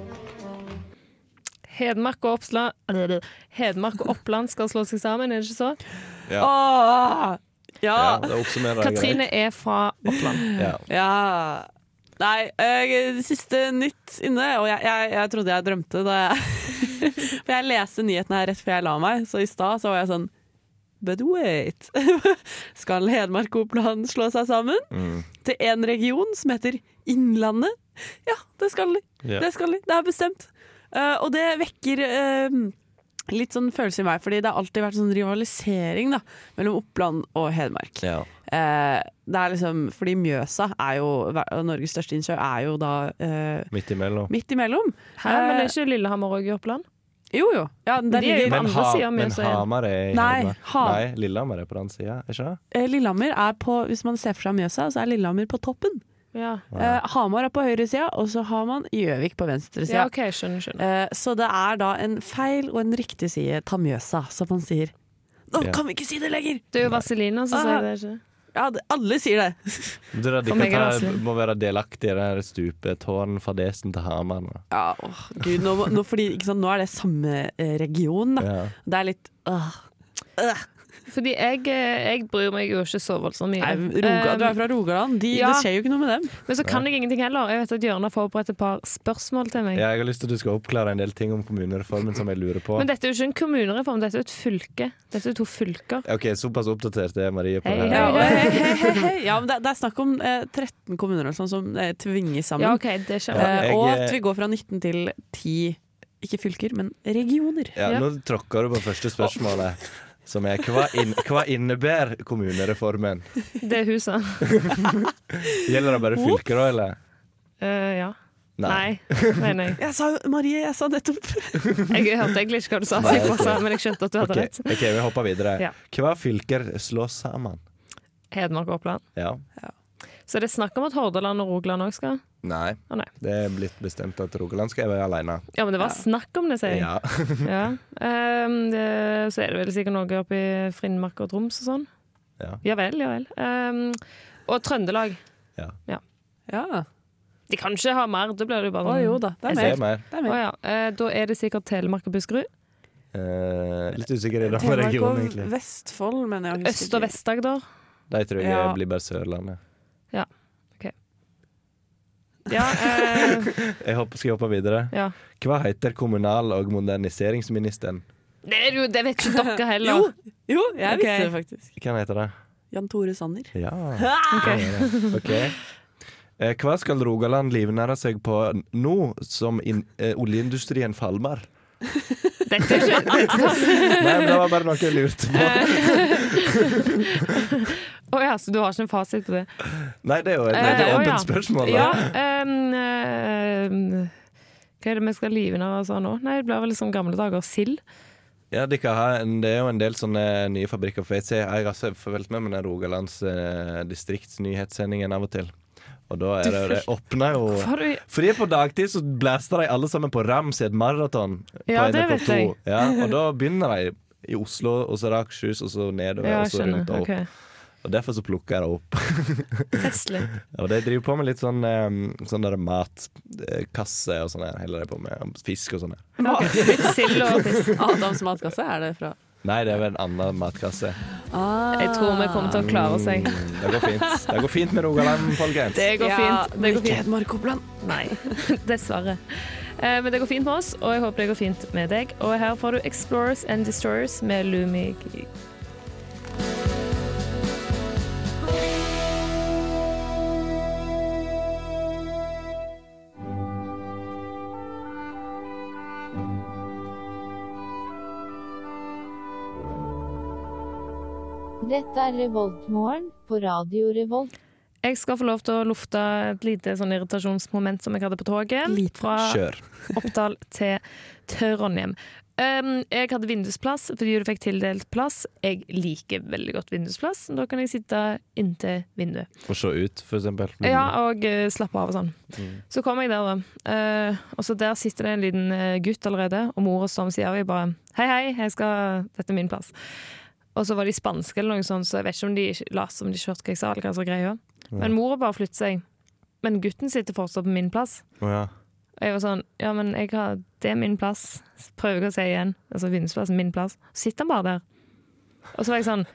Speaker 2: Hedmark og, Oppsla Hedmark og Oppland skal slå seg sammen, er det ikke så?
Speaker 5: Ja,
Speaker 4: Åh,
Speaker 5: ja
Speaker 4: ja.
Speaker 5: det oppsummerer det
Speaker 2: Katrine er fra Oppland.
Speaker 5: greit. Ja.
Speaker 4: Ja. Nei, eh, siste nytt inne, og jeg, jeg, jeg trodde jeg drømte da jeg For jeg leste nyhetene her rett før jeg la meg, så i stad så var jeg sånn But wait. Skal Hedmark og Oppland slå seg sammen til én region som heter Innlandet? Ja, det skal de.
Speaker 5: Ja.
Speaker 4: Det skal de. Det er bestemt. Eh, og det vekker eh, litt sånn følelse i meg, fordi det har alltid vært sånn rivalisering da, mellom Oppland og Hedmark.
Speaker 5: Ja.
Speaker 4: Eh, det er liksom, fordi Mjøsa er jo og Norges største innsjø, er jo da eh,
Speaker 5: Midt imellom.
Speaker 4: midt imellom.
Speaker 2: Hæ, men det er ikke Lillehammer òg i Oppland?
Speaker 4: Jo jo. Ja,
Speaker 2: de
Speaker 4: der
Speaker 2: er jo
Speaker 4: ligger,
Speaker 2: andre siden av
Speaker 5: men
Speaker 2: Mjøsa igjen.
Speaker 5: Hamar er i
Speaker 4: Nei,
Speaker 5: Hedmark.
Speaker 4: Ha-
Speaker 5: Nei, Lillehammer er på den sida, er ikke det?
Speaker 4: eh, Lillehammer er på, hvis man ser for seg Mjøsa, så er Lillehammer på toppen.
Speaker 2: Ja.
Speaker 4: Eh, Hamar er på høyresida, og så har man Gjøvik på venstresida.
Speaker 2: ja, OK, skjønner, skjønner.
Speaker 4: Eh, så det er da en feil og en riktig side ta Mjøsa, som man sier. Nå
Speaker 5: Ja.
Speaker 4: kan vi ikke si det lenger!
Speaker 2: Det er jo Vazelina som
Speaker 4: Ah.
Speaker 2: sier det, ikke
Speaker 4: Ja, det- alle sier det.
Speaker 5: Du, da, de
Speaker 2: For meg
Speaker 5: kan
Speaker 2: er det
Speaker 5: ta,
Speaker 2: Asle.
Speaker 5: må være delaktig i den stupetårnfadesen til Hamar. nå.
Speaker 4: Ja, åh, Gud, nå, må- nå, fordi, ikke sant, nå er det samme eh,
Speaker 2: Ah.
Speaker 4: region, da.
Speaker 5: Ja.
Speaker 4: Det er litt åh. Øh.
Speaker 2: Fordi jeg, eh, jeg bryr meg jo ikke så voldsomt mye.
Speaker 4: Nei, Roga, du
Speaker 2: Eh,
Speaker 4: er fra Rogaland. De,
Speaker 2: ja.
Speaker 4: Det skjer jo ikke noe med dem.
Speaker 2: Men så kan jeg ingenting heller. Jeg vet at Jørn har forberedt et par spørsmål til meg.
Speaker 5: Ja, jeg har lyst til at du skal oppklare en del ting om kommunereformen som jeg lurer på.
Speaker 2: Men dette er jo ikke en kommunereform, dette er jo et fylke. Dette er to fylker.
Speaker 5: Ok, Såpass oppdatert er Marie på
Speaker 2: Hei,
Speaker 5: det. her.
Speaker 2: Ja,
Speaker 4: Ja, og,
Speaker 2: og-
Speaker 4: hei, hei, hei, hei. ja men det, det er snakk om eh, 13 kommuner og sånn som eh, tvinges sammen.
Speaker 2: Ja, OK, det skjønner jeg.
Speaker 4: eh,
Speaker 5: jeg-
Speaker 4: og at vi går fra 19 til 10 ikke fylker, men regioner.
Speaker 5: Ja,
Speaker 2: Ja.
Speaker 5: Nå tråkker du på første spørsmålet, som er hva, inn, hva innebærer kommunereformen?
Speaker 2: Eh, Det er huset.
Speaker 5: Gjelder det bare fylker da, eller?
Speaker 2: Eh, ja. Nei, mener jeg.
Speaker 4: Jeg sa jo Marie, jeg sa nettopp
Speaker 2: Jeg hørte egentlig ikke hva du sa, så jeg bare sa, men jeg skjønte at du hadde
Speaker 5: Ok,
Speaker 2: rett.
Speaker 5: ok, vi hopper videre.
Speaker 2: Ja.
Speaker 5: Hva fylker slås sammen?
Speaker 2: Hedmark og Oppland.
Speaker 5: Ja.
Speaker 2: Så det er snakk om at Hordaland og Rogaland òg skal
Speaker 5: Nei.
Speaker 2: Å nei.
Speaker 5: Det er blitt bestemt at Rogaland skal være alene.
Speaker 2: Ja, men det var snakk om det, sier jeg.
Speaker 5: Ja.
Speaker 2: Ja. Ehm, det, så er det vel sikkert noe oppe i Finnmark og Troms og sånn.
Speaker 5: Ja.
Speaker 2: Ja vel, ja vel. Ehm, og Trøndelag.
Speaker 4: Ja.
Speaker 2: De kan ikke ha mer, da blir det jo bare
Speaker 4: Å jo da, det er
Speaker 5: Det
Speaker 4: mer.
Speaker 5: er mer.
Speaker 4: Det er
Speaker 2: Å
Speaker 4: mer.
Speaker 2: ja. eh, da er det sikkert Telemark og Buskerud.
Speaker 5: Eh, litt usikker i den
Speaker 4: Telemark og
Speaker 5: regionen, egentlig.
Speaker 4: Vestfold, men jeg husker
Speaker 2: Øst- og
Speaker 4: ikke.
Speaker 2: Vest-Agder.
Speaker 5: De tror jeg
Speaker 4: Ja.
Speaker 5: blir bare Sørlandet.
Speaker 2: Ja, eh,
Speaker 5: Jeg hopper, skal jeg hoppe videre?
Speaker 2: ja.
Speaker 5: Hva heter kommunal- og moderniseringsministeren?
Speaker 2: Det, er jo, det vet ikke dere heller.
Speaker 4: Jo, jo,
Speaker 2: Ok.
Speaker 4: jeg visste det faktisk.
Speaker 5: Hva heter det?
Speaker 4: Jan Tore Sanner.
Speaker 5: Ja.
Speaker 2: Ok.
Speaker 5: Ok. Eh, Hva skal Rogaland livnære seg på nå som in, eh, oljeindustrien falmer?
Speaker 2: Dette er ikke
Speaker 5: Nei, men det var bare noe jeg lurte på.
Speaker 2: Å ja, så du har ikke en fasit på det?
Speaker 5: Nei, det er jo et
Speaker 2: Eh,
Speaker 5: veldig
Speaker 2: å, ja.
Speaker 5: åpent spørsmål.
Speaker 2: Ja.
Speaker 5: Da.
Speaker 2: ehm, ehm, hva er det vi skal live av og sånn nå? Nei, det blir vel som gamle dager. Sild.
Speaker 5: Ja, de kan ha en, det er jo en del sånne nye fabrikker. For jeg, ser, jeg har selv fulgt med med den Rogalands eh, distriktsnyhetssendingen av og til. Og da er det, det åpner jo
Speaker 2: Har du
Speaker 5: Fordi på dagtid så blaster de alle sammen på rams i et maraton.
Speaker 2: Ja,
Speaker 5: på
Speaker 2: det
Speaker 5: NRK2.
Speaker 2: vet jeg.
Speaker 5: Ja, og da begynner de i Oslo, og så Rakhshus, og så nedover,
Speaker 2: Ja,
Speaker 5: og
Speaker 2: jeg
Speaker 5: så rundt
Speaker 2: skjønner.
Speaker 5: og opp.
Speaker 2: Ok.
Speaker 5: Og derfor så plukker jeg det opp.
Speaker 2: Festlig.
Speaker 5: Og de driver på med litt sånn, eh, sånn der matkasse og sånn her. Heller de på med fisk og sånn her.
Speaker 2: Litt sild og fisk.
Speaker 4: Adams Ah, matkasse er det fra.
Speaker 5: Nei, det er vel en annen matkasse.
Speaker 2: Jeg tror vi kommer til å klare oss, jeg.
Speaker 5: Mm, Det går fint. Det går fint med Rogaland, folkens.
Speaker 2: Det går fint. Det går fint.
Speaker 4: Hedmark Oppland.
Speaker 2: Nei, dessverre. Eh, Men det går fint med oss, og jeg håper det går fint med deg. Og her får du Explorers and Destroyers med Lumi Gig.
Speaker 9: Dette er Revoltmorgen på Radio Revolt.
Speaker 2: Jeg skal få lov til å lufte et lite sånn irritasjonsmoment som jeg hadde på toget.
Speaker 4: Lite.
Speaker 2: Fra
Speaker 5: Kjør.
Speaker 2: Oppdal til Trondheim. Um, jeg hadde vindusplass fordi du fikk tildelt plass. Jeg liker veldig godt vindusplass. Da kan jeg sitte inntil vinduet.
Speaker 5: Og se ut, for eksempel. Mm.
Speaker 2: Ja, og eh, slappe av og sånn. Så kom jeg der, da. Eh, og så der sitter det en liten eh, gutt allerede, og mora som sier vi bare Hei, hei, jeg skal, dette er min plass. Og så var de spanske eller noe sånt, så jeg vet ikke om de ikke- la som de ikke hørte hva jeg sa. eller hva som var greia. Men mora bare flyttet seg. Men gutten sitter fortsatt på min plass.
Speaker 5: Å, ja.
Speaker 2: Og jeg var sånn Ja, men jeg har, det er min plass. Så Prøver jeg å si igjen. Altså vindusplassen, min plass. Så sitter han bare der. Og så var jeg sånn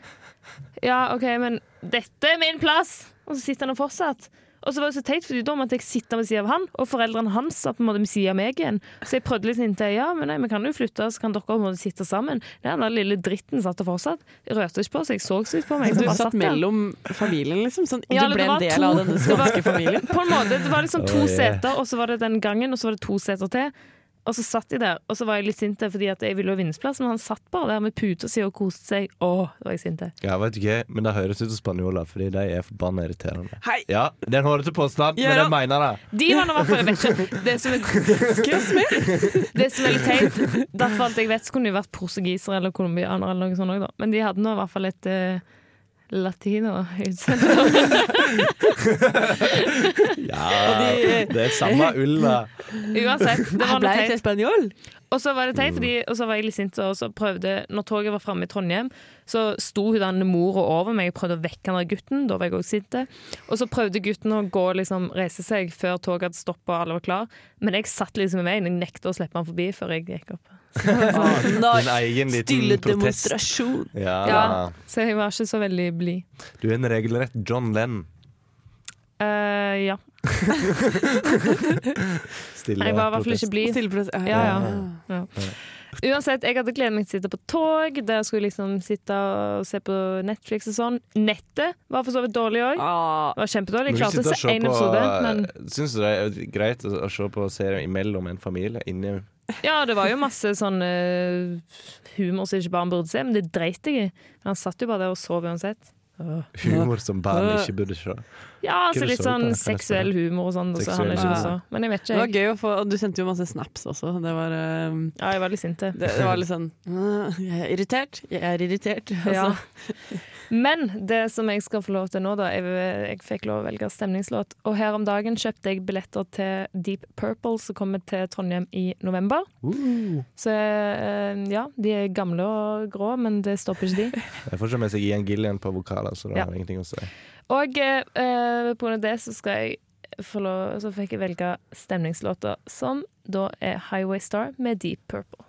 Speaker 2: Ja, OK, men dette er min plass! Og så sitter han og fortsatt. Og så var det så teit, fordi da måtte jeg sitte ved siden av han, og foreldrene hans satt på en måte ved siden av meg igjen. Så jeg prøvde litt inntil ja, men nei, vi kan jo flytte, så kan dere på en måte sitte sammen. Nei, den der lille dritten satt og fortsatt. Jeg rørte ikke på, så jeg så så ut på meg.
Speaker 4: Du
Speaker 2: Så bare
Speaker 4: satt
Speaker 2: der.
Speaker 4: mellom familien, liksom? Sånn,
Speaker 2: Ja,
Speaker 4: du
Speaker 2: eller det
Speaker 4: ble
Speaker 2: var
Speaker 4: en
Speaker 2: to.
Speaker 4: del av denne
Speaker 2: Det var-
Speaker 4: spanske familien?
Speaker 2: På en måte. Det var liksom to
Speaker 5: Oi.
Speaker 2: seter, og så var det den gangen, og så var det to seter til. Og så satt de der, og så var jeg litt sint fordi at jeg ville ha vindsplass, men han satt bare der med puta si og koste seg. Åh, da var jeg sint.
Speaker 5: Ja, vet du hva, men det høres ut som spanjoler, fordi de er forbanna irriterende.
Speaker 4: Hei!
Speaker 5: Ja, det er en hårete påstand, men jeg
Speaker 4: Gjør
Speaker 5: mener det.
Speaker 2: De var nå i hvert fall jeg vet ikke. Det som er, det som er litt teit, i hvert fall at jeg vet, så kunne de vært portugisere eller colombianere eller noe sånt også, da. Men de hadde nå i hvert fall et eh, latino-utseende.
Speaker 5: Ja, det er samme ulla.
Speaker 2: Uansett, det var noe teit.
Speaker 4: spanjol.
Speaker 2: Og så var det teit, fordi, og så var jeg litt sint og så prøvde Når toget var framme i Trondheim, så sto hun den mora over meg og prøvde å vekke han der gutten. Da var jeg også sint. Og så prøvde gutten å gå liksom, reise seg før toget hadde stoppa og alle var klar. Men jeg satt liksom med meg, og jeg nekta å slippe han forbi før jeg gikk opp.
Speaker 5: Din egen liten protest.
Speaker 4: demonstrasjon.
Speaker 5: Ja,
Speaker 2: Ja, Så jeg var ikke så veldig blid.
Speaker 5: Du er en regelrett John Lenn.
Speaker 2: Eh, ja.
Speaker 5: Stille
Speaker 2: Jeg var i hvert fall ikke blid.
Speaker 4: Stille protest.
Speaker 2: Ja, ja. Ja. Uansett, jeg hadde gledet meg til å sitte på tog, der jeg skulle liksom sitte og se på Netflix og sånn. Nettet var for så vidt dårlig òg.
Speaker 4: Ah,
Speaker 2: Det var kjempedårlig. Jeg
Speaker 5: Men du
Speaker 2: klarte
Speaker 5: sitter og
Speaker 2: ikke
Speaker 5: ser
Speaker 2: én
Speaker 5: på- eh,
Speaker 2: episode. Men
Speaker 5: Syns du det er greit å å se på serier imellom en familie? Inni
Speaker 2: ja, det var jo masse sånn eh, humor som ikke barn burde se, men det dreit jeg i. Men han satt jo bare der og sov uansett.
Speaker 5: Humor som barn ikke burde se.
Speaker 2: Ja,
Speaker 5: Hva
Speaker 2: altså
Speaker 5: du
Speaker 2: litt
Speaker 5: så på
Speaker 2: sånn
Speaker 5: den?
Speaker 2: seksuell humor og sånn. Og så
Speaker 5: Seksuell
Speaker 2: han er ikke
Speaker 4: humor.
Speaker 2: så. Men jeg vet
Speaker 4: Det
Speaker 2: ikke.
Speaker 4: var
Speaker 2: Jeg.
Speaker 4: gøy å få og Du sendte jo masse snaps også. Det var, eh,
Speaker 2: Ja, jeg var litt sinte.
Speaker 4: det, det var litt sånn «Øh, Jeg er irritert, jeg er irritert.
Speaker 2: Ja.
Speaker 4: Altså.
Speaker 2: Men det som jeg skal få lov til nå, da Jeg, jeg fikk lov å velge stemningslåt. Og her om dagen kjøpte jeg billetter til Deep Purple, som kommer til Trondheim i november.
Speaker 5: Uh.
Speaker 2: Så eh, ja, de er gamle og grå, men det stopper ikke de.
Speaker 5: Jeg får ikke med seg Ian Gillian på vokaler, så det
Speaker 2: Ja.
Speaker 5: har ingenting å si.
Speaker 2: Og eh, eh, på grunn av det så skal jeg få lov, så fikk jeg velge stemningslåter som da er Highway Star med Deep Purple.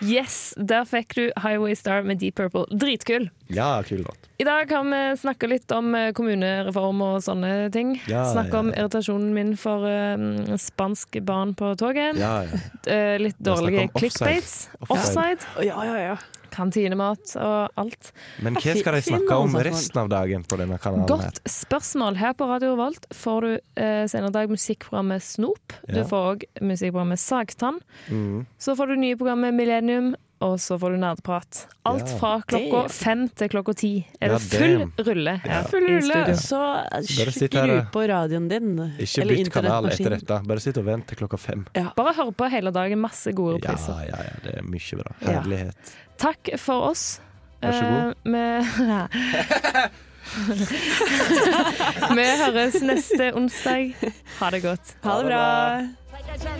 Speaker 2: Yes, der fikk du Highway Star med Deep Purple. Dritkul!
Speaker 5: Ja, kul låt.
Speaker 2: I dag kan vi snakke litt om eh, kommunereform og sånne ting.
Speaker 5: Ja,
Speaker 2: snakke om
Speaker 5: ja, ja.
Speaker 2: irritasjonen min for eh, spansk barn på toget.
Speaker 5: Ja, ja.
Speaker 2: Eh, litt
Speaker 5: har
Speaker 2: dårlige
Speaker 5: snakket om offside.
Speaker 2: clickbaits.
Speaker 5: Offside.
Speaker 2: offside
Speaker 4: Å, ja, ja, ja.
Speaker 2: kantinemat og alt.
Speaker 5: Men hva
Speaker 2: Altså,
Speaker 5: skal de snakke om resten av dagen på denne kanalen? her?
Speaker 2: Godt spørsmål. Her på Radio Revolt får du eh, senere i dag musikkprogrammet Snop. Du
Speaker 5: Ja. Mm.
Speaker 2: får òg musikkprogrammet Sagtann. Så får du nye programmet Millennium, og så får du nerdprat. Alt
Speaker 5: Ja.
Speaker 2: fra klokka fem til klokka ti er
Speaker 5: Ja,
Speaker 2: det full
Speaker 5: damn.
Speaker 2: rulle her
Speaker 4: Full
Speaker 2: i
Speaker 4: rulle,
Speaker 2: studio.
Speaker 4: så
Speaker 5: Bare sitt
Speaker 4: skru
Speaker 5: her, da.
Speaker 4: på radioen din.
Speaker 5: Ikke bytt kanal etter dette. Bare sitt og vent til klokka fem.
Speaker 2: Bare hør på hele dagen. Masse gode
Speaker 5: Ja,
Speaker 2: repriser.
Speaker 5: ja, ja, det er mye bra. Herlighet.
Speaker 2: Takk for oss.
Speaker 5: Vær så god.
Speaker 2: Eh, vi, vi høres neste onsdag. Ha det godt.
Speaker 4: Ha det bra.